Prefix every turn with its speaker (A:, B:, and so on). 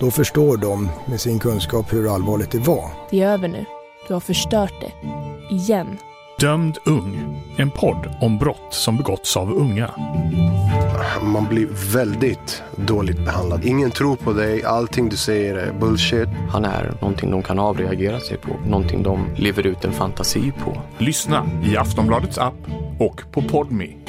A: Då förstår de med sin kunskap hur allvarligt det var.
B: Det är över nu. Du har förstört det. Igen.
C: Dömd ung. En podd om brott som begåtts av unga.
D: Man blir väldigt dåligt behandlad. Ingen tror på dig, allting du säger är bullshit.
E: Han är någonting de kan avreagera sig på, någonting de lever ut en fantasi på.
C: Lyssna i Aftonbladets app och på Podme.